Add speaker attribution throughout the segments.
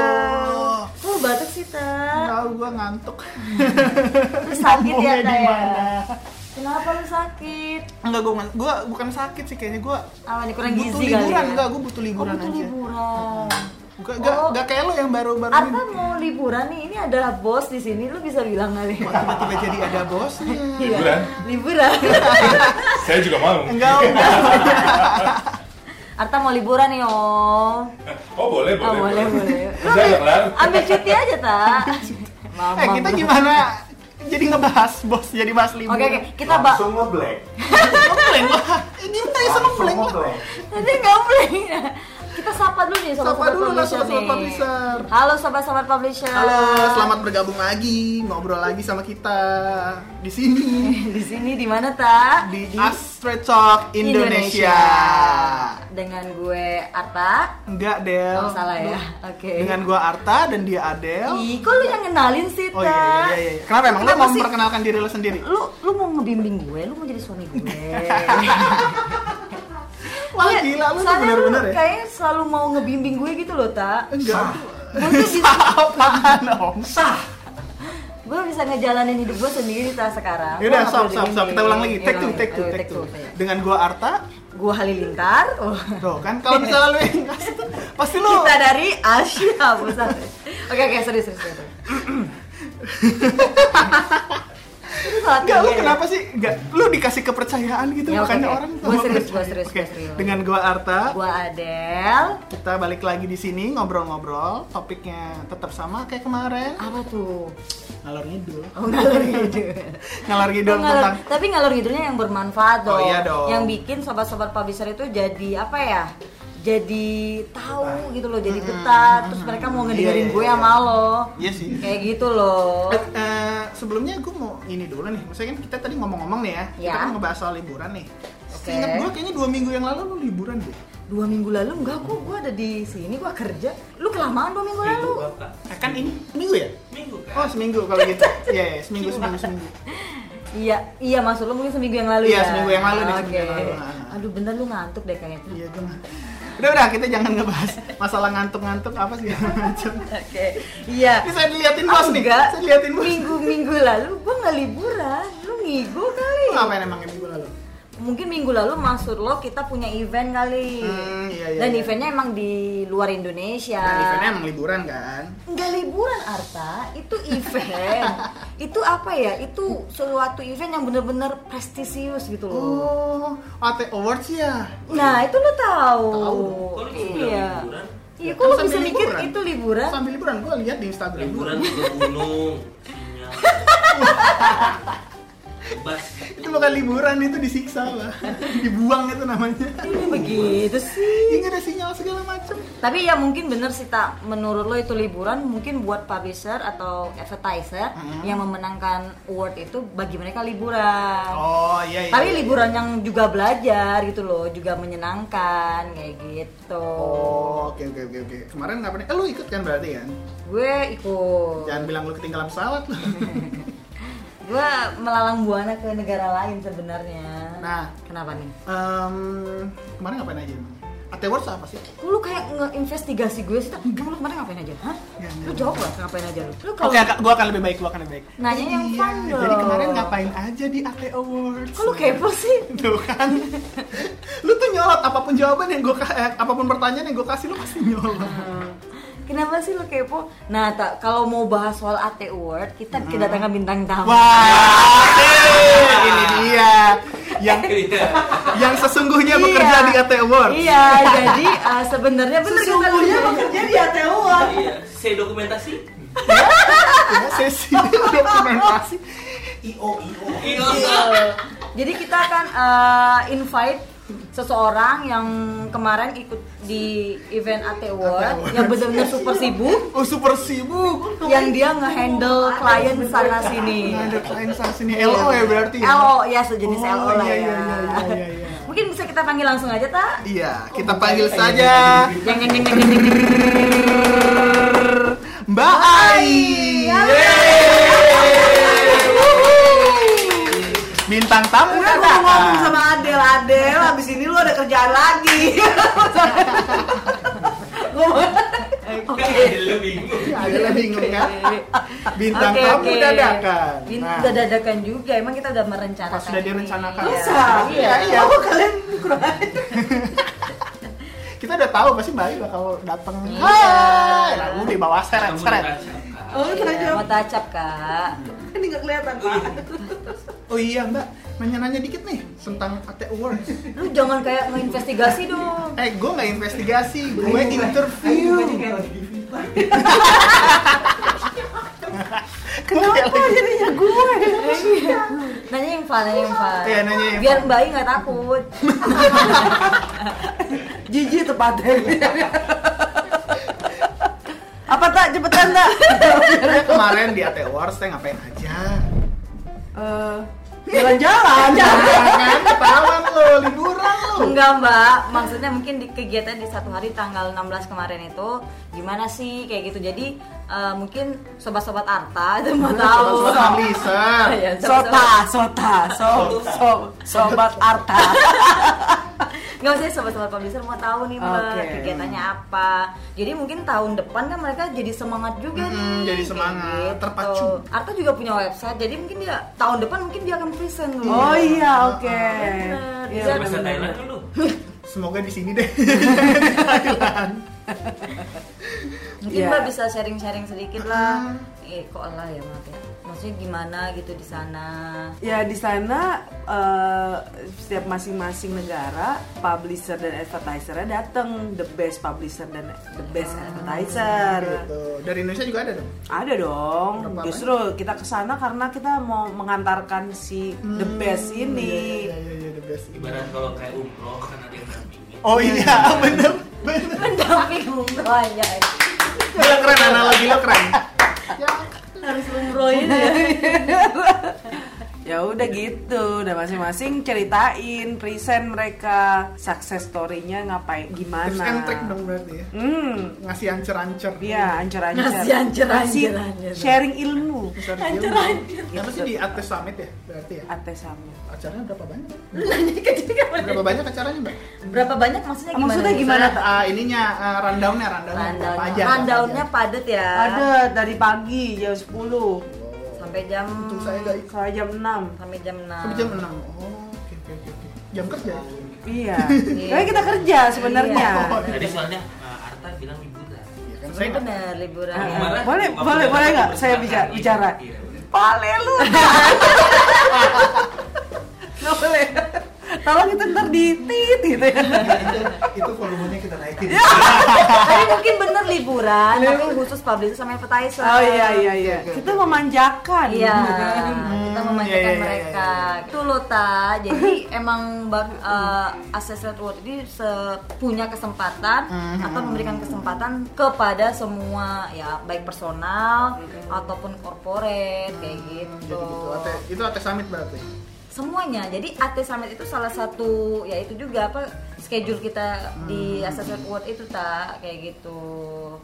Speaker 1: ya, apa lu sakit?
Speaker 2: Enggak gue gue bukan sakit sih kayaknya gue
Speaker 1: Apa nih kurang
Speaker 2: butuh
Speaker 1: gizi
Speaker 2: liburan
Speaker 1: kali ya?
Speaker 2: enggak gue butuh liburan
Speaker 1: oh, butuh
Speaker 2: aja.
Speaker 1: liburan.
Speaker 2: Gak, gak,
Speaker 1: Oh.
Speaker 2: gak kayak lo yang baru-baru
Speaker 1: Arta
Speaker 2: ini
Speaker 1: mau liburan nih, ini ada bos di sini, lu bisa bilang kali.
Speaker 2: Kok tiba-tiba jadi ada bosnya
Speaker 1: Iya.
Speaker 3: Liburan?
Speaker 1: Liburan.
Speaker 3: Saya juga mau.
Speaker 2: Enggak, enggak
Speaker 1: Arta mau liburan nih, Om.
Speaker 3: Oh boleh boleh.
Speaker 1: Oh,
Speaker 3: ya,
Speaker 1: boleh, boleh. Lu
Speaker 3: Saya nggak melarang.
Speaker 1: ambil cuti aja, Ta. Mama.
Speaker 2: Eh kita gimana jadi ngebahas bos, jadi bahas
Speaker 1: Oke,
Speaker 2: liburan
Speaker 1: oke. Kita bak
Speaker 4: langsung ngeblank
Speaker 2: Ngebleng lah, ini kita bisa
Speaker 4: langsung
Speaker 2: ngebleng lah
Speaker 4: ngeblank
Speaker 1: Nanti nggak boleh. Kita sapa dulu nih
Speaker 2: Sapa
Speaker 1: sobat-sobat
Speaker 2: dulu lah,
Speaker 1: publisher
Speaker 2: sobat-sobat
Speaker 1: nih.
Speaker 2: publisher.
Speaker 1: Halo sobat-sobat publisher.
Speaker 2: Halo, selamat bergabung lagi, ngobrol lagi sama kita di sini
Speaker 1: Di sini di mana, Ta?
Speaker 2: di Astra Talk Indonesia.
Speaker 1: Dengan gue Arta.
Speaker 2: Enggak, Del.
Speaker 1: Oh, salah ya. Oke.
Speaker 2: Dengan gua Arta dan dia Adel.
Speaker 1: Ih, kok lu yang kenalin sih, Ta?
Speaker 2: Oh iya, iya, iya, iya. Kenapa emang lo mau
Speaker 1: Iya. Kenapa sih? Iya,
Speaker 2: memperkenalkan diri lo sendiri?
Speaker 1: Lu lu mau ngebimbing gue, lu mau jadi suami gue.
Speaker 2: Wah, gila lu tuh
Speaker 1: Soalnya
Speaker 2: bener-bener ya.
Speaker 1: Kayaknya selalu mau ngebimbing gue gitu loh, Ta.
Speaker 2: Enggak. Oh,
Speaker 1: Gue tuh bisa
Speaker 2: Apaan, Om?
Speaker 1: gue bisa ngejalanin hidup gue sendiri ta sekarang.
Speaker 2: Yaudah,
Speaker 1: Gua nggak
Speaker 2: stop,
Speaker 1: perlu
Speaker 2: stop, stop.
Speaker 1: dibimbing.
Speaker 2: Kita ulang lagi.
Speaker 1: Iya,
Speaker 2: Take two,
Speaker 1: ulang.
Speaker 2: take two,
Speaker 1: Aduh,
Speaker 2: take two.
Speaker 1: take two. iya.
Speaker 2: Dengan gua Arta,
Speaker 1: Gue Halilintar. Oh.
Speaker 2: tuh kan kalau misalnya lu yang ngasih, pasti lu
Speaker 1: Kita dari Asia Pusat. Oke oke serius serius. serius. Itu salah
Speaker 2: Enggak, lu
Speaker 1: tiga ya.
Speaker 2: kenapa sih? Enggak, lu dikasih kepercayaan gitu
Speaker 1: Ya, oke,
Speaker 2: makanya
Speaker 1: oke.
Speaker 2: orang
Speaker 1: Gua serius, gua serius,
Speaker 2: Oke,
Speaker 1: gua serius.
Speaker 2: Dengan gua Arta,
Speaker 1: Gua Adel.
Speaker 2: kita balik lagi di sini ngobrol-ngobrol. Topiknya tetap sama kayak kemarin.
Speaker 1: Apa tuh?
Speaker 2: Ngalor ngidul.
Speaker 1: Oh ngalor ngidul.
Speaker 2: Ngalor ngidul
Speaker 1: Oh, ngalor-
Speaker 2: tentang
Speaker 1: Tapi ngalor ngidulnya yang bermanfaat
Speaker 2: Oh,
Speaker 1: dong.
Speaker 2: iya dong.
Speaker 1: Yang bikin sobat-sobat publisher itu jadi apa ya? Jadi tahu gitu loh, jadi betah. Terus mereka
Speaker 2: Iya,
Speaker 1: mau ngedengerin
Speaker 2: iya,
Speaker 1: gue
Speaker 2: iya.
Speaker 1: sama lo.
Speaker 2: Iya sih.
Speaker 1: Kayak gitu loh.
Speaker 2: Eh, eh, sebelumnya gue mau ini dulu nih. Maksudnya kan kita tadi ngomong-ngomong nih ya.
Speaker 1: Ya.
Speaker 2: Kita kan ngebahas soal liburan nih.
Speaker 1: Oke.
Speaker 2: Seingat gue kayaknya dua minggu yang lalu lu liburan deh.
Speaker 1: Dua minggu lalu enggak kok, gue ada di sini, gue kerja. Lu kelamaan dua minggu lalu.
Speaker 2: Eh, kan ini seminggu ya?
Speaker 5: Minggu kan?
Speaker 2: Oh seminggu kalau gitu. Iya iya, seminggu seminggu seminggu.
Speaker 1: Iya, iya maksud lu mungkin seminggu yang lalu
Speaker 2: Iya,
Speaker 1: ya.
Speaker 2: seminggu yang lalu nih,
Speaker 1: Oke.
Speaker 2: seminggu yang lalu. Ah.
Speaker 1: Aduh bener lu ngantuk deh kayaknya.
Speaker 2: Iya gue mah. Udah udah kita jangan ngebahas masalah ngantuk-ngantuk apa sih macam.
Speaker 1: Oke. Iya.
Speaker 2: Ini saya diliatin bos nih.
Speaker 1: Enggak.
Speaker 2: Saya diliatin bos.
Speaker 1: Minggu-minggu lalu gue nggak liburan, lu ngigo kali.
Speaker 2: Lu ngapain emang minggu lalu?
Speaker 1: Mungkin minggu lalu maksud lo kita punya event kali.
Speaker 2: Hmm, iya, iya,
Speaker 1: Dan
Speaker 2: iya.
Speaker 1: eventnya emang di luar Indonesia.
Speaker 2: Dan eventnya emang liburan kan?
Speaker 1: Nggak liburan Arta, itu event. itu apa ya? Itu suatu event yang bener-bener prestisius gitu loh.
Speaker 2: Oh, AT Awards ya.
Speaker 1: Nah, itu lo tahu.
Speaker 2: Tahu.
Speaker 5: Kok lu bisa
Speaker 1: Iya.
Speaker 5: bilang liburan?
Speaker 1: Iya,
Speaker 2: Ya,
Speaker 1: kok
Speaker 2: kan
Speaker 1: lo
Speaker 2: sambil
Speaker 1: bisa mikir
Speaker 2: liburan.
Speaker 1: itu liburan?
Speaker 2: Sambil liburan gue lihat di Instagram.
Speaker 5: liburan
Speaker 2: lu.
Speaker 5: ke gunung sinyal bebas
Speaker 2: Itu bukan liburan itu disiksa lah. Dibuang itu namanya.
Speaker 1: Ini begitu sih.
Speaker 2: Ini ada sinyal segala macam.
Speaker 1: Tapi ya mungkin bener sih tak menurut lo itu liburan mungkin buat publisher atau advertiser
Speaker 2: Mm-hmm.
Speaker 1: yang memenangkan award itu bagi mereka liburan.
Speaker 2: Oh iya iya.
Speaker 1: Tapi liburan yang juga belajar gitu loh, juga menyenangkan kayak gitu.
Speaker 2: Oh, oke oke oke oke. Kemarin ngapain? Eh lu ikut kan berarti kan?
Speaker 1: Gue ikut.
Speaker 2: Jangan bilang lu ketinggalan pesawat lu.
Speaker 1: Gue melalang buana ke negara lain sebenarnya.
Speaker 2: Nah.
Speaker 1: kenapa nih?
Speaker 2: Em, kemarin ngapain aja emang? AT Awards apa sih?
Speaker 1: Kok Lu kayak ngeinvestigasi gue sih, tapi lu kemarin ngapain aja? Hah?
Speaker 2: Enggak,
Speaker 1: Lu jawab lah ngapain aja lu? Lu kalau
Speaker 2: Oke, Kak, gua akan lebih baik, gua akan lebih baik.
Speaker 1: nanya yang fun dong.
Speaker 2: Iya, Jadi kemarin ngapain aja di AT Awards?
Speaker 1: Kok lu kepo sih?
Speaker 2: Tuh kan. lu tuh nyolot apapun jawaban yang gua ka- eh, apapun pertanyaan yang gua kasih lu pasti nyolot.
Speaker 1: Kenapa sih lu kepo? Nah, tak kalau mau bahas soal AT Award, kita kedatangan bintang tamu.
Speaker 2: Mm-hmm. Wah, asik. ini dia yang yang sesungguhnya
Speaker 1: Iya.
Speaker 2: bekerja di AT Awards.
Speaker 1: Iya, jadi eh, sebenarnya bener kata lu.
Speaker 2: Sesungguhnya bekerja di AT Awards.
Speaker 5: iya saya dokumentasi
Speaker 2: Ya, sesi dokumentasi.
Speaker 4: io io
Speaker 5: iya
Speaker 1: Eh, Jadi kita akan eh, invite seseorang yang kemarin ikut di event
Speaker 2: AT
Speaker 1: AT Award
Speaker 2: Award.
Speaker 1: yang benar-benar super sibuk
Speaker 2: Oh, super sibuk.
Speaker 1: yang dia nge-handle klien sana sini.
Speaker 2: Nggak ada klien sana sini
Speaker 1: Iya.
Speaker 2: LO ya berarti. ya?
Speaker 1: LO ya sejenis
Speaker 2: Oh,
Speaker 1: LO lah
Speaker 2: iya,
Speaker 1: ya.
Speaker 2: iya, iya, iya, iya.
Speaker 1: Mungkin bisa kita panggil langsung aja, Tak?
Speaker 2: Iya, kita
Speaker 1: Oh,
Speaker 2: panggil saja
Speaker 1: Yang yang yang yang- yang- yang-
Speaker 2: Mbak Ai.
Speaker 1: Halo.
Speaker 2: Yeay. Wuhu. Bintang tamu
Speaker 6: Udah gue mau ngomong sama Adel, Adel abis ini lu ada kerjaan lagi
Speaker 1: Gua-
Speaker 5: Lu bingung.
Speaker 2: Ya, adalah bingung kan? Bintang
Speaker 1: Oke,
Speaker 2: tamu
Speaker 1: oke.
Speaker 2: dadakan.
Speaker 1: Bint-
Speaker 2: Nah,
Speaker 1: udah dadakan juga. Emang kita udah merencanakan.
Speaker 2: Pas sudah
Speaker 1: ini.
Speaker 2: direncanakan. ya.
Speaker 1: Iya.
Speaker 4: Masa?
Speaker 1: Iya.
Speaker 2: Iya.
Speaker 4: Oh, kalian kurang
Speaker 2: kita udah tahu pasti Mbak Ayu bakal datang.
Speaker 1: Iya.
Speaker 2: Hai, nah, udah bawa seret
Speaker 5: Kamu
Speaker 2: seret.
Speaker 5: ditancapkan.
Speaker 4: Oh, kena
Speaker 1: Iya,
Speaker 4: jawab.
Speaker 1: Mau tacap, Kak.
Speaker 4: Ini nggak kelihatan, Pak.
Speaker 2: Oh iya Mbak, nanya-nanya dikit nih tentang AT Awards.
Speaker 1: Lu jangan kayak menginvestigasi dong.
Speaker 2: Eh, gue nggak investigasi, gue interview.
Speaker 4: Ayo, kayak lagi di FIFA.
Speaker 2: Kenapa?
Speaker 4: jadinya gue?
Speaker 1: Nanya yang fun, nanya yang fun.
Speaker 2: Iya, nanya yang
Speaker 1: Biar
Speaker 2: fun.
Speaker 1: Mbak Ayu nggak takut.
Speaker 4: Jijik tepatnya. Apa tak cepetan tak?
Speaker 2: Kemarin di AT Awards, saya ngapain aja?
Speaker 4: Eh, Jalan-jalan.
Speaker 2: Jangan ketahuan lo, liburan lo.
Speaker 1: Enggak mbak, maksudnya mungkin di kegiatan di satu hari tanggal 16 kemarin itu gimana sih kayak gitu. Jadi eh, mungkin sobat-sobat Arta itu mau tahu.
Speaker 2: Sobat Lisa.
Speaker 1: Iya,
Speaker 4: Sota,
Speaker 1: sobat-sobat-
Speaker 4: sota, so, so, sobat Arta.
Speaker 1: Nggak usah sobat-sobat publisher mau tahu nih mbak
Speaker 4: Oke.
Speaker 1: kegiatannya apa. Jadi mungkin tahun depan kan mereka jadi semangat juga
Speaker 2: Mm-mm, jadi
Speaker 1: nih. kayak gitu.
Speaker 2: semangat, terpacu.
Speaker 1: Arta juga punya website, jadi mungkin dia tahun depan mungkin dia akan present dulu.
Speaker 4: Oh iya, oke.
Speaker 1: Bener,
Speaker 4: Iya,
Speaker 1: bisa.
Speaker 5: Bahasa Thailand lu.
Speaker 2: Semoga di sini deh. Gitu.
Speaker 1: Mungkin
Speaker 4: Iya.
Speaker 1: Mbak bisa sharing-sharing sedikit lah. Eh, kok lah ya maaf ya. Maksudnya gimana gitu di sana?
Speaker 4: Ya di sana eh, setiap masing-masing negara publisher dan advertisernya datang the best publisher dan the best advertiser.
Speaker 2: gitu. Dari Indonesia juga ada dong.
Speaker 4: Ada dong.
Speaker 2: Berapa
Speaker 4: Justru kita ke sana karena kita mau mengantarkan si the best ini.
Speaker 2: Iya, iya, iya, the best.
Speaker 5: Ibarat kalau kayak umroh kan ada yang dampingin.
Speaker 2: Oh iya, bener, bener.
Speaker 1: Mendamping umrohnya.
Speaker 2: Gila keren, analogi lo keren. Ya,
Speaker 1: Harus umrohin ya.
Speaker 4: Ya udah
Speaker 2: Iya.
Speaker 4: gitu, udah masing-masing ceritain, present mereka success story-nya ngapain gimana.
Speaker 2: tips and trick dong berarti ya.
Speaker 4: Hmm.
Speaker 2: Ngasih ancer-ancer.
Speaker 4: Iya, ancer-ancer.
Speaker 1: Ngasih ancer-ancer.
Speaker 4: Ngasih sharing ilmu.
Speaker 2: Ancer-ancer.
Speaker 1: Ancer-ancer.
Speaker 2: iya. Apa sih di Ates Summit ya berarti ya?
Speaker 4: Ate Samu.
Speaker 2: Acaranya berapa banyak?
Speaker 1: Lu nanya ke dia kan boleh.
Speaker 2: Berapa banyak acaranya, Mbak?
Speaker 1: Berapa banyak maksudnya gimana?
Speaker 4: Maksudnya
Speaker 1: nih?
Speaker 4: gimana?
Speaker 2: Ah, ininya ah, rundown-nya, rundown-nya apa aja?
Speaker 1: Rundown-nya
Speaker 2: apa aja?
Speaker 1: rundown-nya padet ya.
Speaker 4: Ada dari pagi jam 10
Speaker 1: Sampai jam
Speaker 2: Untung saya nggak ikut.
Speaker 4: sampai jam 6.
Speaker 1: sampai jam 6.
Speaker 2: Sampai jam 6. Oh, oke oke oke. oke. Jam kerja.
Speaker 4: Iya.
Speaker 1: Iya.
Speaker 4: Tapi kita kerja sebenarnya.
Speaker 2: Iya.
Speaker 5: Tadi soalnya eh, Arta bilang liburan.
Speaker 2: Ya kan saya
Speaker 1: Bener liburan. ya.
Speaker 5: Kemarin
Speaker 4: Boleh,
Speaker 5: waktu
Speaker 4: boleh,
Speaker 5: dalam
Speaker 4: boleh nggak
Speaker 5: waktu
Speaker 4: saya
Speaker 5: berjalan,
Speaker 4: bija- bicara?
Speaker 5: iya, boleh.
Speaker 4: Boleh lu. Nggak boleh. Tolong itu ntar di tit gitu ya.
Speaker 2: itu volumenya kita naikin.
Speaker 1: Tapi mungkin bener liburan, tapi khusus publisher sama advertiser.
Speaker 4: Oh iya iya iya.
Speaker 2: Oke, oke.
Speaker 4: Kita memanjakan.
Speaker 1: Iya,
Speaker 4: Kan?
Speaker 1: kita
Speaker 2: Hmm, iya,
Speaker 1: memanjakan
Speaker 2: iya, iya,
Speaker 1: mereka. Itu loh Ta. Jadi emang bang uh, Assessment Award ini se- punya kesempatan
Speaker 2: Hmm.
Speaker 1: atau memberikan kesempatan kepada semua ya baik personal ataupun korporat kayak
Speaker 2: Jadi
Speaker 1: gitu.
Speaker 2: gitu. Ate, itu Ate Summit berarti.
Speaker 1: Semuanya. Jadi AT Summit itu salah satu ya itu juga apa schedule kita di
Speaker 2: Hmm.
Speaker 1: Assessment Award itu tak kayak gitu.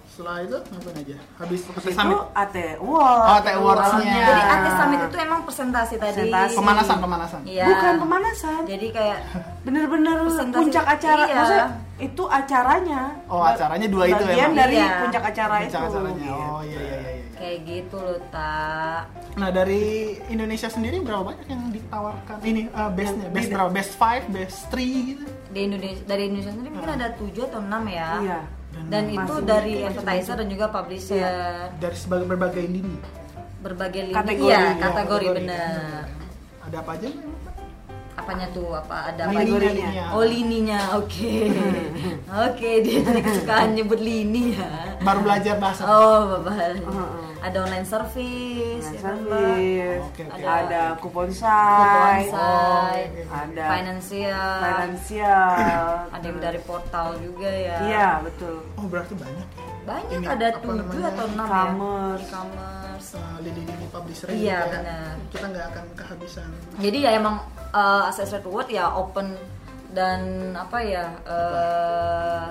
Speaker 2: Setelah itu ngapain aja? Habis Ate
Speaker 4: Itu
Speaker 2: Summit.
Speaker 4: AT Awards.
Speaker 2: Oh, AT Awards-nya.
Speaker 4: Awards-nya.
Speaker 1: Jadi AT Summit itu emang presentasi tadi.
Speaker 4: Presentasi.
Speaker 2: Pemanasan, pemanasan.
Speaker 1: Iya.
Speaker 4: Bukan pemanasan.
Speaker 1: Jadi kayak
Speaker 4: bener-bener
Speaker 1: Presentasi-
Speaker 4: puncak acara
Speaker 1: iya.
Speaker 4: maksudnya itu acaranya
Speaker 2: Oh, acaranya dua itu
Speaker 4: bagian
Speaker 2: emang?
Speaker 4: dari
Speaker 1: Iya.
Speaker 4: puncak acara
Speaker 2: Puncak
Speaker 4: itu
Speaker 2: acaranya.
Speaker 4: gitu.
Speaker 2: Oh iya iya iya. iya.
Speaker 1: kayak gitu loh tak
Speaker 2: Nah dari Indonesia sendiri berapa banyak yang ditawarkan? Ini eh, base-nya, base
Speaker 4: Beda.
Speaker 2: berapa? Base 5, base 3 gitu.
Speaker 1: di Indonesia dari Indonesia sendiri mungkin ada tujuh atau enam ya
Speaker 4: Hmm. Iya.
Speaker 1: dan
Speaker 4: Masih
Speaker 1: itu
Speaker 4: banyak,
Speaker 1: dari
Speaker 4: masih
Speaker 1: advertiser dan juga publisher
Speaker 2: Dari sebagai berbagai lini.
Speaker 1: berbagai lini
Speaker 4: Iya. Kategori,
Speaker 1: Iya,
Speaker 4: ya,
Speaker 1: kategori, bener
Speaker 2: Ada apa aja? Mbak?
Speaker 1: apanya tuh apa ada apa
Speaker 4: Lininya.
Speaker 1: aja? oh lininya oke oke dia jadi kesukaan nyebut lini ya
Speaker 2: Baru belajar bahasa.
Speaker 1: oh bapak
Speaker 4: Heeh.
Speaker 1: ada online service, ya kan, Mbak?
Speaker 4: Service,
Speaker 2: Oke, oke.
Speaker 4: ada
Speaker 2: oh,
Speaker 4: kupon
Speaker 1: Kupon
Speaker 4: site,
Speaker 1: site,
Speaker 4: iya, ada
Speaker 1: financial,
Speaker 4: finansial,
Speaker 1: ada yang dari portal juga ya
Speaker 4: Iya betul.
Speaker 2: Oh berarti banyak.
Speaker 1: banyak
Speaker 2: Ini
Speaker 1: ada
Speaker 2: apa
Speaker 1: tujuh
Speaker 2: namanya?
Speaker 1: atau enam
Speaker 4: E-commerce.
Speaker 1: ya e-commerce
Speaker 2: Eh, Lini-lini publisher
Speaker 1: Iya,
Speaker 2: juga. ya?
Speaker 1: benar.
Speaker 2: Kita nggak akan kehabisan.
Speaker 1: jadi ya emang uh, access reward ya open dan apa ya uh,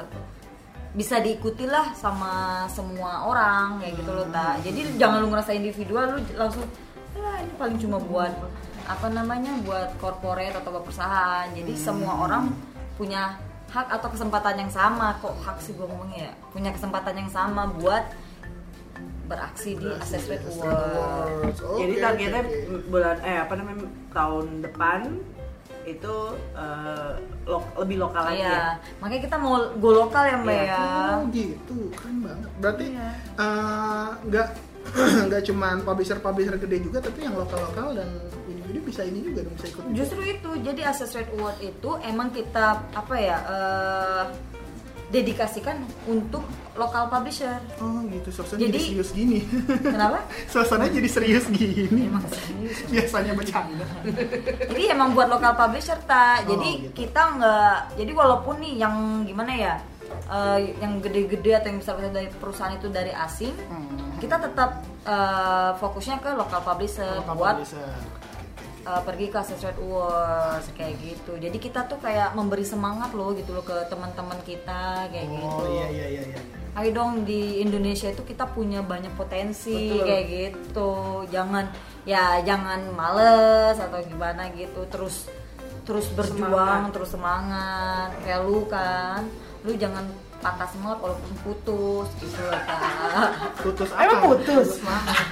Speaker 1: bisa diikuti lah sama semua orang kayak gitu loh ta jadi jangan lu ngerasa individual lu langsung "Ah, ini paling cuma buat Hmm. apa namanya buat corporate atau buat perusahaan jadi semua orang punya hak atau kesempatan yang sama kok hak sih gue ngomongnya ya punya kesempatan yang sama buat beraksi
Speaker 2: Iya,
Speaker 1: di assessment world
Speaker 4: Iya, Jadi targetnya bulan eh apa namanya tahun depan itu eh, lo- lebih lokal lagi ya.
Speaker 1: Iya, makanya kita mau go lokal ya mbak
Speaker 4: Iya.
Speaker 1: ya.
Speaker 2: Oh gitu, keren banget. Berarti eh, nggak nggak cuman publisher-publisher gede juga, tapi yang lokal-lokal dan ini bisa ini juga dong bisa ikut. juga.
Speaker 1: Justru itu, jadi Access Rate Award itu emang kita apa ya eh, dedikasikan untuk lokal publisher.
Speaker 2: Oh gitu, suasana jadi,
Speaker 1: Jadi-
Speaker 2: serius gini.
Speaker 1: Kenapa?
Speaker 2: suasana jadi serius gini.
Speaker 1: Emang serius.
Speaker 2: Biasanya bercanda.
Speaker 1: jadi emang buat lokal publisher ta.
Speaker 2: Oh,
Speaker 1: Jadi
Speaker 2: gitu.
Speaker 1: kita nggak, jadi walaupun nih yang gimana ya, eh, yang gede-gede atau yang besar-besar dari perusahaan itu dari asing,
Speaker 2: Hmm.
Speaker 1: kita tetap eh, fokusnya ke lokal publisher
Speaker 2: Lokal
Speaker 1: buat
Speaker 2: publisher.
Speaker 1: uh, pergi ke Associate Awards kayak gitu. Jadi kita tuh kayak memberi semangat loh gitu loh ke teman-teman kita kayak
Speaker 2: Oh
Speaker 1: gitu.
Speaker 2: iya iya iya iya.
Speaker 1: Ayo dong di Indonesia itu kita punya banyak potensi
Speaker 4: Betul.
Speaker 1: kayak gitu. Jangan ya jangan males atau gimana gitu. Terus terus berjuang,
Speaker 4: Semangat.
Speaker 1: terus semangat. Kayak lu kan, lu jangan patah semangat walaupun putus gitu loh Kak.
Speaker 2: Putus apa?
Speaker 4: Emang putus?
Speaker 1: Semangat.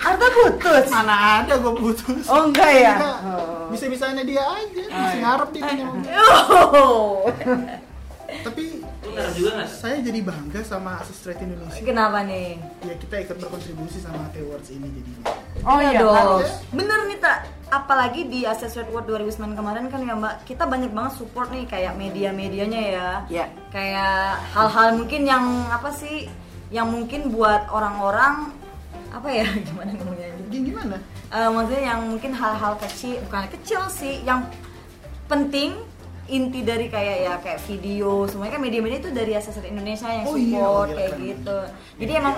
Speaker 4: Arta putus.
Speaker 2: Mana ada gue putus.
Speaker 4: Oh enggak ya.
Speaker 2: Enggak.
Speaker 4: Oh. iya.
Speaker 2: Bisa-bisanya dia aja, masih ngarep dia punya orang. Tapi
Speaker 5: Lu ngarep juga nggak?
Speaker 2: saya jadi bangga sama Asestrate Indonesia.
Speaker 1: Kenapa nih?
Speaker 2: Ya kita ikut berkontribusi sama T Awards ini jadinya.
Speaker 4: Oh
Speaker 1: Iya
Speaker 4: iya
Speaker 1: dong.
Speaker 4: harus.
Speaker 1: Bener nih tak. Apalagi di Access Award 2009 kemarin kan ya Mbak, kita banyak banget support nih kayak media-medianya ya.
Speaker 4: Iya.
Speaker 1: Kayak hal-hal mungkin yang apa sih? Yang mungkin buat orang-orang apa ya gimana ngomongnya?
Speaker 2: Jadi gimana?
Speaker 1: Eh, maksudnya yang mungkin hal-hal kecil bukan kecil sih yang penting inti dari kayak ya kayak video semuanya kan media-media itu dari asesor Indonesia yang
Speaker 2: Oh iya,
Speaker 1: support
Speaker 2: gila,
Speaker 1: kayak
Speaker 2: keren.
Speaker 1: gitu jadi
Speaker 3: Media.
Speaker 1: emang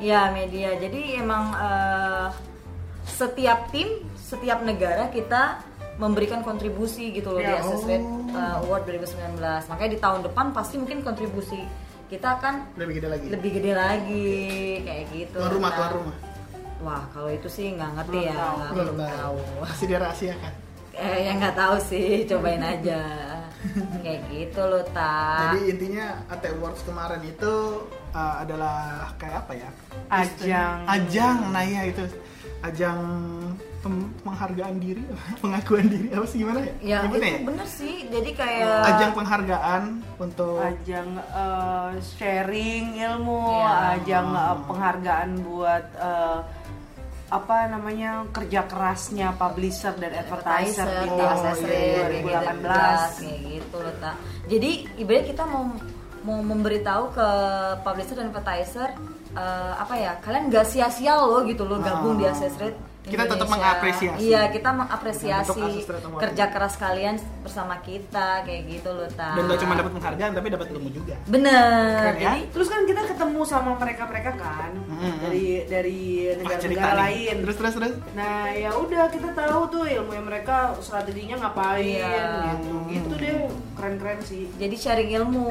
Speaker 1: ya media jadi emang eh, setiap tim setiap negara kita memberikan kontribusi gitu loh
Speaker 4: Ya,
Speaker 1: di Access
Speaker 2: oh.
Speaker 1: Rate, eh, Award 2019 makanya di tahun depan pasti mungkin kontribusi kita akan
Speaker 2: Lebih gede lagi.
Speaker 1: lebih gede lagi kayak gitu
Speaker 2: Tuan rumah,
Speaker 1: Nah,
Speaker 2: tuan rumah.
Speaker 1: Wah, kalau itu sih nggak ngerti
Speaker 4: Belum
Speaker 1: ya,
Speaker 4: tahu.
Speaker 1: nggak-
Speaker 2: Belum tahu. Masih kan? dirahasiakan.
Speaker 1: Eh, yang nggak tahu sih, cobain aja. Kayak gitu loh, Ta.
Speaker 2: Jadi intinya AT Awards kemarin itu uh, adalah kayak apa ya?
Speaker 4: Ajang.
Speaker 2: Ajang, nah ya itu ajang pem- penghargaan diri, pengakuan diri apa sih gimana ya?
Speaker 1: ya, itu
Speaker 2: Nyebutnya ya?
Speaker 1: bener sih. Jadi kayak
Speaker 2: Ajang penghargaan untuk
Speaker 4: ajang eh, sharing ilmu,
Speaker 1: Iya.
Speaker 4: ajang eh, penghargaan buat eh, apa namanya kerja kerasnya publisher dan advertiser di
Speaker 2: Oh,
Speaker 4: tahun
Speaker 1: Access
Speaker 2: iya,
Speaker 1: Rate, kayak gitu,
Speaker 4: 2018.
Speaker 1: kayak gitu loh, Ta. Jadi ibaratnya kita mau mau memberitahu ke publisher dan advertiser eh, apa ya kalian nggak sia-sia loh gitu loh gabung di
Speaker 2: Ah.
Speaker 1: Access Rate
Speaker 2: Kita tetap
Speaker 1: Indonesia.
Speaker 2: mengapresiasi.
Speaker 1: Iya, kita mengapresiasi
Speaker 2: Untuk Access Rate Award
Speaker 1: kerja
Speaker 2: ini.
Speaker 1: keras kalian bersama kita kayak gitu loh, Ta.
Speaker 2: dan gak cuma dapat penghargaan tapi dapat ilmu juga.
Speaker 1: Bener.
Speaker 2: Keren ya?
Speaker 1: Jadi
Speaker 4: Terus kan kita ketemu sama mereka-mereka kan
Speaker 2: Mm-mm.
Speaker 4: dari dari
Speaker 2: Wah, Ah, cerita
Speaker 4: negara-negara
Speaker 2: nih.
Speaker 4: lain.
Speaker 2: Terus terus terus.
Speaker 4: Nah ya udah kita tahu tuh ilmu yang mereka strateginya ngapain
Speaker 1: Iya.
Speaker 4: gitu gitu deh keren-keren sih.
Speaker 1: jadi sharing ilmu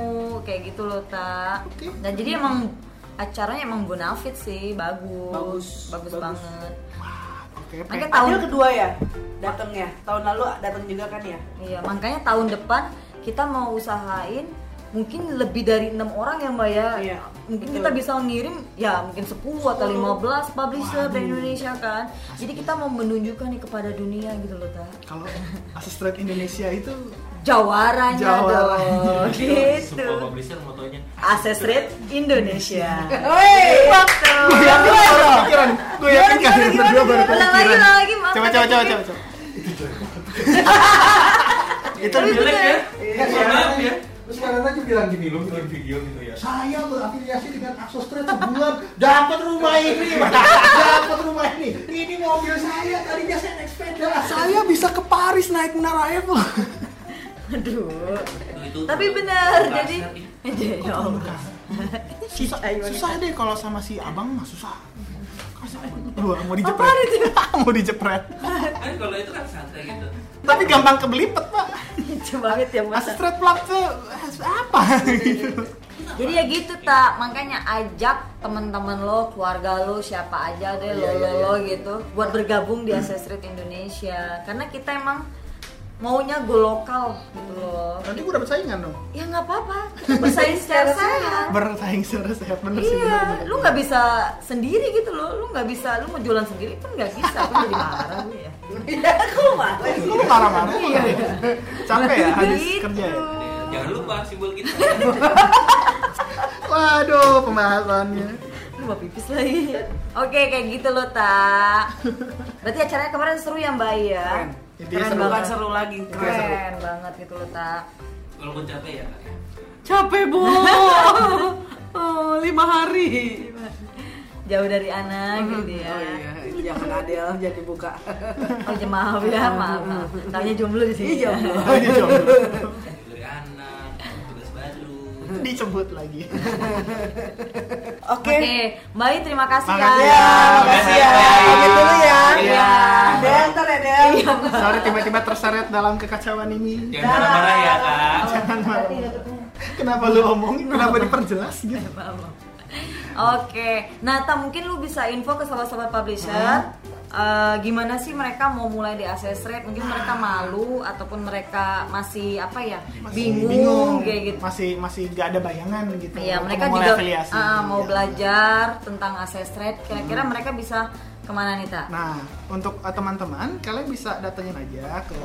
Speaker 1: kayak gitu loh tak
Speaker 2: Oke.
Speaker 1: dan jadi emang acaranya emang bonafit sih bagus
Speaker 4: Bagus,
Speaker 1: bagus,
Speaker 4: bagus.
Speaker 1: banget
Speaker 2: Oke. Pe.
Speaker 1: makanya tahun
Speaker 4: Tahun kedua ya datang ya tahun lalu datang juga kan ya.
Speaker 1: iya makanya tahun depan kita mau usahain mungkin lebih dari enam orang ya mbak ya
Speaker 4: Iya,
Speaker 1: mungkin
Speaker 4: betul.
Speaker 1: kita bisa ngirim ya mungkin 10 atau 15 publisher dari Indonesia kan jadi kita mau menunjukkan nih kepada dunia gitu loh tak
Speaker 2: Kalau Asestrate Indonesia itu
Speaker 1: jawaranya
Speaker 2: Jawara.
Speaker 1: dong gitu
Speaker 5: Semua publisher motonya
Speaker 1: Access Rate Indonesia
Speaker 2: Iya.
Speaker 4: Woi,
Speaker 2: Gua baru kepikiran. Gue
Speaker 1: Oh. Gimana,
Speaker 2: yakin kalian
Speaker 1: gimana, gimana,
Speaker 2: berdua baru
Speaker 1: gimana? Ulang Iya, lagi,
Speaker 2: kepikiran.
Speaker 1: ulang lagi, maaf,
Speaker 2: Coba coba
Speaker 1: tadi
Speaker 2: coba coba.
Speaker 1: pikir.
Speaker 2: coba.
Speaker 5: Itu jelek ya?
Speaker 6: Iya,
Speaker 5: Mohon maaf ya
Speaker 6: Terus kalian aja bilang gini, lu bikin video gitu ya. Saya berafiliasi dengan Aksostra sebulan, dapat rumah ini, dapat rumah ini. Ini mobil saya, tadinya saya naik sepeda.
Speaker 2: Saya bisa ke Paris naik Menara Eiffel.
Speaker 1: Aduh.
Speaker 5: Itu- itu
Speaker 1: Tapi benar.
Speaker 5: kasar
Speaker 1: Jadi
Speaker 5: ini.
Speaker 1: ya Allah.
Speaker 2: susah, susah deh kalau sama si abang mah susah. Kasar. Dua mau dijepret.
Speaker 1: Apaan itu?
Speaker 2: mau dijepret.
Speaker 5: Kan kalau itu kan santai gitu
Speaker 2: Tapi gampang kebelipet, Pak.
Speaker 1: Lucu banget ya Mas.
Speaker 2: Asistret plug tuh apa gitu.
Speaker 1: Jadi ya gitu tak, makanya ajak teman-teman lo, keluarga lo, siapa aja
Speaker 2: Iya,
Speaker 1: deh lo lo lo gitu, buat bergabung di Access Street Indonesia. Karena kita emang maunya go lokal gitu loh
Speaker 2: nanti gue dapet saingan dong
Speaker 1: ya nggak apa-apa kita bersaing secara sehat
Speaker 2: bersaing secara sehat bener sih
Speaker 1: iya
Speaker 2: bener-bener.
Speaker 1: lu nggak bisa sendiri gitu loh lu nggak bisa lu mau jualan sendiri pun nggak bisa aku jadi marah gue ya
Speaker 4: Iya, aku marah.
Speaker 2: lu mau marah-marah
Speaker 1: Iya.
Speaker 2: lu ya? capek ya habis
Speaker 1: Gitu.
Speaker 2: kerja ya
Speaker 5: Jangan lupa simbol kita.
Speaker 2: waduh pembahasannya
Speaker 1: lu mau pipis lagi oke kayak gitu loh tak berarti acaranya kemarin seru ya mbak ya
Speaker 4: Keren.
Speaker 2: Intinya
Speaker 1: keren
Speaker 2: seru.
Speaker 1: banget
Speaker 4: kan? Bukan seru lagi, keren.
Speaker 1: keren banget gitu loh tak
Speaker 5: Walaupun capek ya. Kak, ya.
Speaker 4: Capek, Bu. oh, lima hari.
Speaker 1: jauh dari anak gitu ya
Speaker 4: Oh iya, jangan Adele jadi buka.
Speaker 1: oh ya maaf ya maaf maaf taunya jomblo di sini
Speaker 4: Iya, jomblo.
Speaker 2: Oh, ini jomblo.
Speaker 5: Dari anak, tugas baru.
Speaker 2: dicebut lagi
Speaker 1: Oke, Mbak I, terima kasih ya.
Speaker 2: Makasih
Speaker 4: Ya, makasih ya. Pamit dulu ya.
Speaker 1: Iya.
Speaker 4: Adele, ntar Adele.
Speaker 2: sorry tiba-tiba terseret dalam kekacauan ini
Speaker 5: Jangan marah-marah ya kak.
Speaker 2: jangan marah kenapa lu omongin kenapa diperjelas gitu
Speaker 1: Oke, Nata mungkin lu bisa info ke sahabat-sahabat publisher eh, gimana sih mereka mau mulai di access rate? Mungkin mereka malu ataupun mereka masih apa ya bingung, kayak gitu.
Speaker 2: masih masih gak ada bayangan gitu
Speaker 1: Iya,
Speaker 2: Untuk
Speaker 1: mereka
Speaker 2: memulai
Speaker 1: juga
Speaker 2: afiliasi.
Speaker 1: ah, mau
Speaker 2: Iya.
Speaker 1: belajar tentang access rate. Kira-kira mereka bisa kemana nih tak?
Speaker 2: Nah, untuk eh, teman-teman, kalian bisa datengin aja ke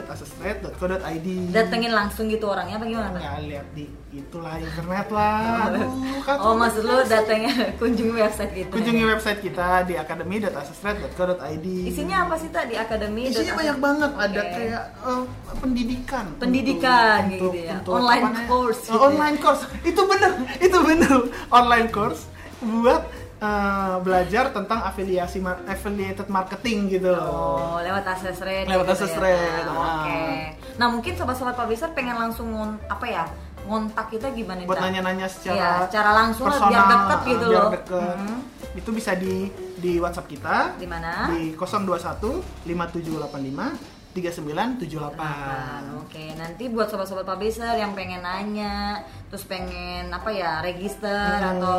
Speaker 2: academy.asestrate.co.id
Speaker 1: Datengin langsung gitu orangnya apa gimana?
Speaker 2: Ya, lihat di itulah internet lah. Aduh, kan-
Speaker 1: Oh maksud lu datengnya kunjungi website gitu?
Speaker 2: Kunjungi website kita di academy.asestrate.co.id
Speaker 1: Isinya apa sih tak di akademi?
Speaker 2: Isinya banyak banget, ada
Speaker 1: Iya, Oke.
Speaker 2: kayak eh, pendidikan
Speaker 1: Pendidikan, gitu ya. Online
Speaker 2: apa namanya?
Speaker 1: course
Speaker 2: Eh,
Speaker 1: gitu ya.
Speaker 2: Online course, itu bener, itu bener Online course buat eh, belajar tentang afiliasi mar- affiliated marketing gitu loh
Speaker 1: Oh, lewat akses rate.
Speaker 2: Lewat
Speaker 1: gitu
Speaker 2: akses
Speaker 1: ya.
Speaker 2: rate,
Speaker 1: Nah,
Speaker 2: ah.
Speaker 1: Oke. Nah, mungkin sobat-sobat publisher pengen langsung ngon, apa ya? Ngontak kita gimana
Speaker 2: buat
Speaker 1: Ta?
Speaker 2: nanya-nanya secara
Speaker 1: Iya, secara langsung lah,
Speaker 2: personal,
Speaker 1: biar deket gitu
Speaker 2: biar
Speaker 1: loh.
Speaker 2: deket.
Speaker 1: Mhm.
Speaker 2: Itu bisa di di WhatsApp kita
Speaker 1: Di mana?
Speaker 2: di 021 5785
Speaker 1: Nah,
Speaker 2: 3978.
Speaker 1: Oke, nanti buat sobat-sobat publisher yang pengen nanya, terus pengen apa ya, register
Speaker 2: Hmm.
Speaker 1: atau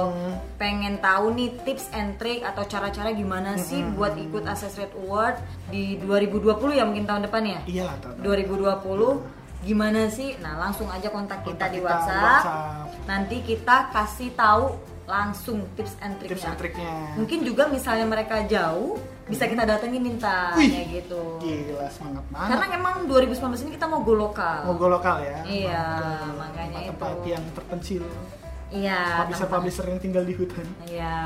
Speaker 1: pengen tahu nih tips and trick atau cara-cara gimana sih
Speaker 2: Hmm.
Speaker 1: buat ikut Access Rate Award di 2020 ya mungkin tahun depan ya?
Speaker 2: Iya lah, tahu.
Speaker 1: 2020 gimana sih? Nah, langsung aja kontak
Speaker 2: Kontak
Speaker 1: kita di
Speaker 2: kita,
Speaker 1: WhatsApp.
Speaker 2: WhatsApp.
Speaker 1: Nanti kita kasih tahu langsung tips and
Speaker 2: Tips
Speaker 1: triknya.
Speaker 2: and triknya.
Speaker 1: Mungkin juga misalnya mereka jauh, bisa kita datengin minta
Speaker 2: Wih,
Speaker 1: kayak gitu.
Speaker 2: Gila semangat banget.
Speaker 1: Karena emang 2019 ini kita mau go lokal.
Speaker 2: logo lokal ya.
Speaker 1: Iya,
Speaker 2: Mantap.
Speaker 1: makanya
Speaker 2: tempat
Speaker 1: itu.
Speaker 2: yang terpencil.
Speaker 1: Iya.
Speaker 2: Publisher-publisher yang tinggal di hutan.
Speaker 1: tempat- Iya,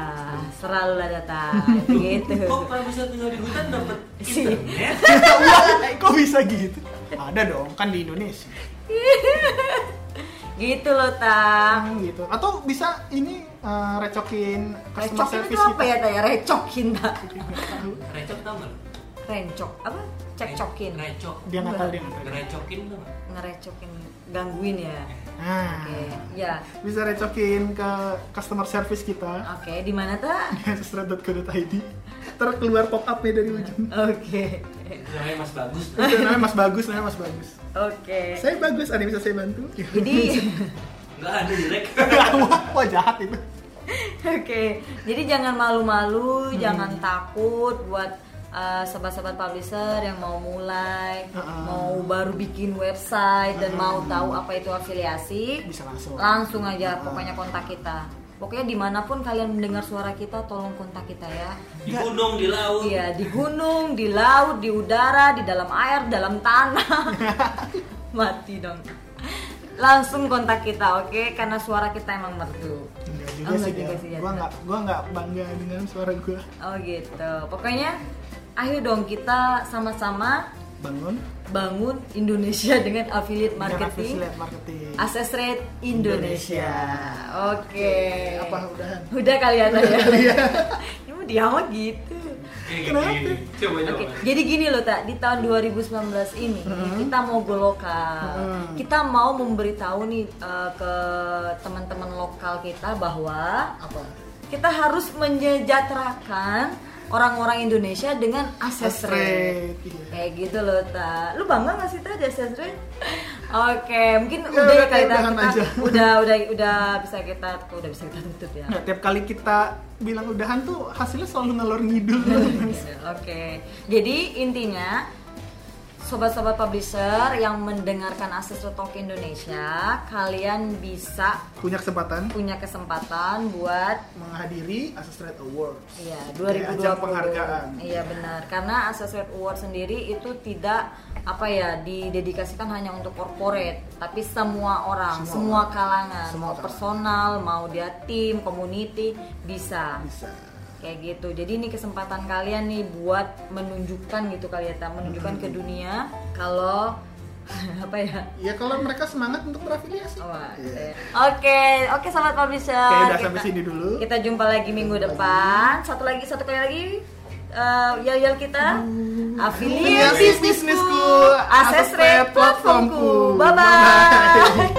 Speaker 1: selalu lah datang gitu.
Speaker 5: Kok pernah bisa tinggal di hutan dapat
Speaker 1: Sih.
Speaker 5: internet?
Speaker 1: Iya.
Speaker 2: Kok bisa gitu? Ada dong, kan di Indonesia.
Speaker 1: gitu loh, Tang.
Speaker 2: Kan gitu. Atau bisa ini eh, recokin customer
Speaker 1: Recokin itu
Speaker 2: service
Speaker 1: apa
Speaker 2: kita.
Speaker 1: ya, Tang? Recokin, Tang.
Speaker 5: Recok tau nggak? lu?
Speaker 1: Rencok, apa? Cekcokin.
Speaker 5: Recok.
Speaker 2: Dia nggak tahu dia nggak tahu.
Speaker 5: Ngerecokin tau nggak?
Speaker 1: Ngerecokin, gangguin ya.
Speaker 2: Nah,
Speaker 1: Oke, ya.
Speaker 2: bisa recokin ke customer service kita
Speaker 1: Oke, di mana, Tang?
Speaker 2: sestra.co.id terus keluar pop up-nya dari ujung
Speaker 1: Oke.
Speaker 5: Namanya Mas Bagus. tuh.
Speaker 2: Itu namanya Mas Bagus, namanya Mas Bagus
Speaker 1: Oke.
Speaker 2: saya Bagus, ada yang bisa saya bantu?
Speaker 1: Jadi
Speaker 5: Nggak ada direk.
Speaker 2: wah, wah jahat itu
Speaker 1: Oke, jadi jangan malu-malu, jangan
Speaker 2: Hmm.
Speaker 1: takut buat uh, sobat-sobat publisher yang mau mulai,
Speaker 2: Uh-uh.
Speaker 1: mau baru bikin website dan mau tahu apa itu afiliasi,
Speaker 2: bisa langsung
Speaker 1: langsung aja
Speaker 2: Uh-uh.
Speaker 1: pokoknya kontak kita. Pokoknya dimanapun kalian mendengar suara kita, tolong kontak kita ya.
Speaker 5: Di gunung, di laut.
Speaker 1: Iya, di gunung, di laut, di udara, di dalam air, dalam tanah. Mati dong. Langsung kontak kita, oke? Karena suara kita emang merdu.
Speaker 2: enggak Iya juga
Speaker 1: Oh,
Speaker 2: sih,
Speaker 1: enggak
Speaker 2: Del.
Speaker 1: juga sih, ya,
Speaker 2: gua
Speaker 1: benar.
Speaker 2: nggak gua nggak bangga dengan suara gua
Speaker 1: Oh gitu. Pokoknya ayo dong kita sama-sama
Speaker 2: bangun
Speaker 1: bangun Indonesia dengan affiliate
Speaker 2: dengan
Speaker 1: marketing.
Speaker 2: affiliate marketing
Speaker 1: Access Rate Indonesia. Oke.
Speaker 2: apa udahan?
Speaker 1: Udah kali ya Taya? Ya mau diam aja gitu.
Speaker 5: Kayak
Speaker 2: Kenapa?
Speaker 5: gini. Coba coba.
Speaker 1: Oke, jadi gini loh tak di tahun 2019 ini
Speaker 2: Mm-hmm.
Speaker 1: kita mau go lokal,
Speaker 2: Mhm.
Speaker 1: kita mau memberitahu nih eh, ke teman-teman lokal kita bahwa
Speaker 2: apa?
Speaker 1: kita harus menyejahterakan orang-orang Indonesia dengan akses
Speaker 2: Sestra.
Speaker 1: rate.
Speaker 2: Iya.
Speaker 1: Kayak gitu loh, Ta. Lu bangga gak sih, Ta, di akses rate? Oke, mungkin
Speaker 2: Ya,
Speaker 1: udah ya
Speaker 2: udah,
Speaker 1: kali Ta,
Speaker 2: udahan
Speaker 1: kita,
Speaker 2: aja.
Speaker 1: udah udah udah bisa kita udah bisa kita tutup ya.
Speaker 2: Nggak, tiap kali kita bilang udahan tuh hasilnya selalu ngelor ngidul
Speaker 1: Oke. Jadi intinya sobat-sobat publisher yang mendengarkan Ancestor Talk Indonesia, kalian bisa
Speaker 2: punya kesempatan
Speaker 1: punya kesempatan buat
Speaker 2: menghadiri Asus Trade Awards.
Speaker 1: Iya,
Speaker 2: Kayak
Speaker 1: 2020.
Speaker 2: ajang penghargaan.
Speaker 1: Iya benar. Karena Associate Award sendiri itu tidak apa ya didedikasikan hanya untuk corporate, tapi semua orang,
Speaker 2: Semua
Speaker 1: semua,
Speaker 2: orang.
Speaker 1: kalangan,
Speaker 2: Semua
Speaker 1: mau
Speaker 2: kalangan.
Speaker 1: personal, mau dia tim, community bisa.
Speaker 2: Bisa.
Speaker 1: Kayak gitu. Jadi ini kesempatan kalian nih buat menunjukkan gitu kali ya, Ta, menunjukkan ke dunia kalau apa ya?
Speaker 2: Ya kalau mereka semangat untuk berafiliasi.
Speaker 1: Oh, Wah,
Speaker 2: Iya.
Speaker 1: saya- Oke, oke sahabat publisher.
Speaker 2: Oke, udah
Speaker 1: Kita-
Speaker 2: sampai sini dulu.
Speaker 1: Kita jumpa lagi minggu
Speaker 2: Jumpa
Speaker 1: depan. Satu lagi, satu kali lagi eh yel-yel kita. Afiliasi
Speaker 2: Afiliasi
Speaker 1: bisnisku,
Speaker 2: bisnisku,
Speaker 1: akses
Speaker 2: akses rate platformku.
Speaker 1: platformku. Bye bye.